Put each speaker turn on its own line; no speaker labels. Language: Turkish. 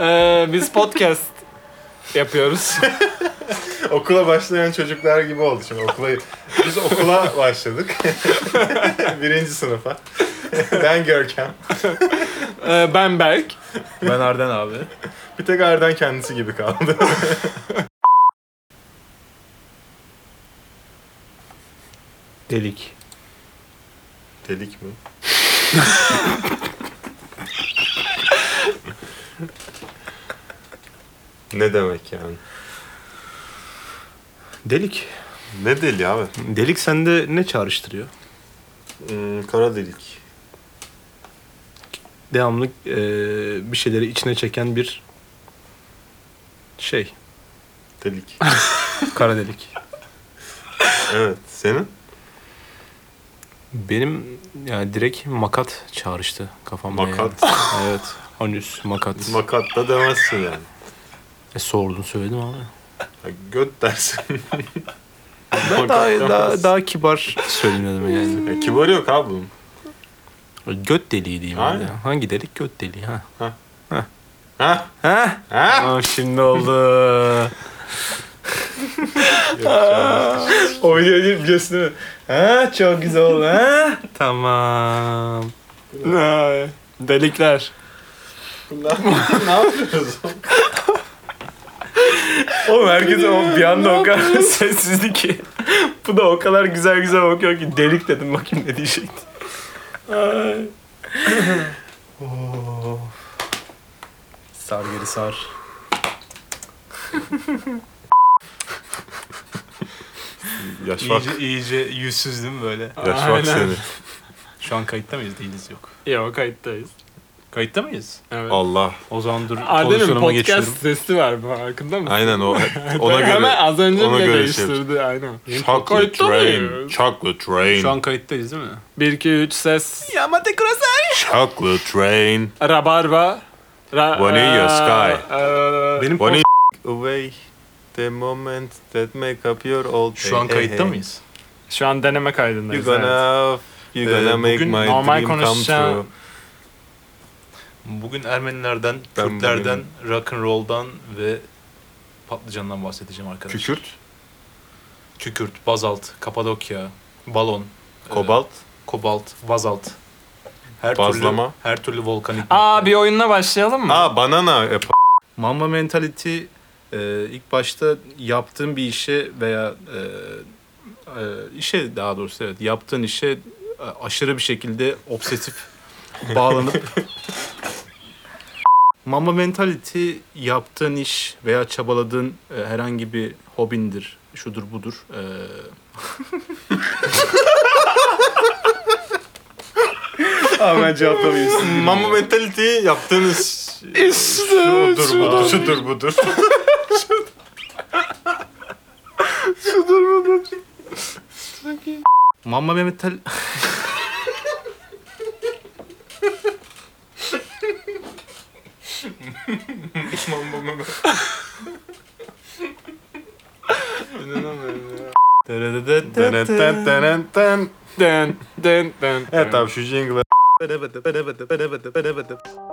Ee, Biz podcast yapıyoruz.
Okula başlayan çocuklar gibi oldu şimdi okula. Biz okula başladık. Birinci sınıfa. ben Görkem.
Ee, ben Berk.
Ben Arden abi.
Bir tek Arden kendisi gibi kaldı.
Delik.
Delik mi? ne demek yani?
Delik.
Ne deli abi?
Delik sende ne çağrıştırıyor?
Hmm, kara delik.
Devamlı e, bir şeyleri içine çeken bir şey.
Delik.
Kara delik.
Evet. Senin?
Benim yani direkt makat çağrıştı kafamda.
Makat.
yani. Evet. Anüs, makat.
Makat da demezsin yani.
E, sordun söyledim abi.
Ha, Göt dersin.
Ben daha, daha, daha kibar söyledim dedim yani.
ya, kibar yok abi bunun.
Göt deliği diyeyim ben de.
Aynen.
Hangi delik? Göt deliği ha.
Ha?
Ha?
Ha?
Tamam şimdi oldu.
Yok canım.
o videoyu biliyorsun değil mi? Ha çok güzel oldu ha. tamam.
Ay, Delikler.
ne yapıyoruz?
Oğlum herkes o bir anda o kadar sessizdi ki. Bu da o kadar güzel güzel bakıyor ki delik dedim bakayım ne diyecekti.
Ay.
Sar geri sar.
Yaş bak.
İyice, iyice yüzsüz değil mi böyle?
Yaş bak
Aynen.
seni.
Şu an kayıtta mıyız? Değiliz yok.
Yok kayıttayız.
Kayıtta mıyız?
Evet.
Allah.
O zaman dur
Arden'in
pozisyonuma
podcast
geçiyorum.
sesi var bu farkında mısın?
Aynen o. Ona
Hemen
göre.
az önce
ona
bile
göre şey
değiştirdi aynen.
Chocolate
Kayıtta
train.
mıyız?
Chocolate train.
Şu an kayıttayız değil mi?
1 2 3 ses.
Yamate kurasai.
Chocolate train.
Rabarba. Ra
Vanilla
Aa,
Sky.
aa,
Benim
When
post-
away the moment that make up your old
Şu an kayıtta mıyız?
Şu an deneme
You
kaydındayız. evet.
gonna you
gonna
gonna
make
make my
my
normal
dream come
dream come true.
true.
Bugün Ermenilerden,
Ben
Kürtlerden, rock and roll'dan ve patlıcandan bahsedeceğim arkadaşlar. Kükürt, bazalt, Kapadokya, balon, e,
Kobalt.
kobalt, bazalt. Her
Bazlama.
türlü her türlü volkanik.
Aa bir oyunla başlayalım mı?
Aa banana. e, p-
Mamba mentality e, ilk başta yaptığın bir işe veya e, e, işe daha doğrusu evet yaptığın işe e, aşırı bir şekilde obsesif bağlanıp Mamba mentality yaptığın iş veya çabaladığın e, herhangi bir hobindir, şudur budur. E,
Aa ben cevaplamayayım. Mama Hmm. mentality yaptığınız
İşte
şudur budur. Şudur budur.
Mamba mental
Den den den.
Eh, Evet abi şu jingle'a.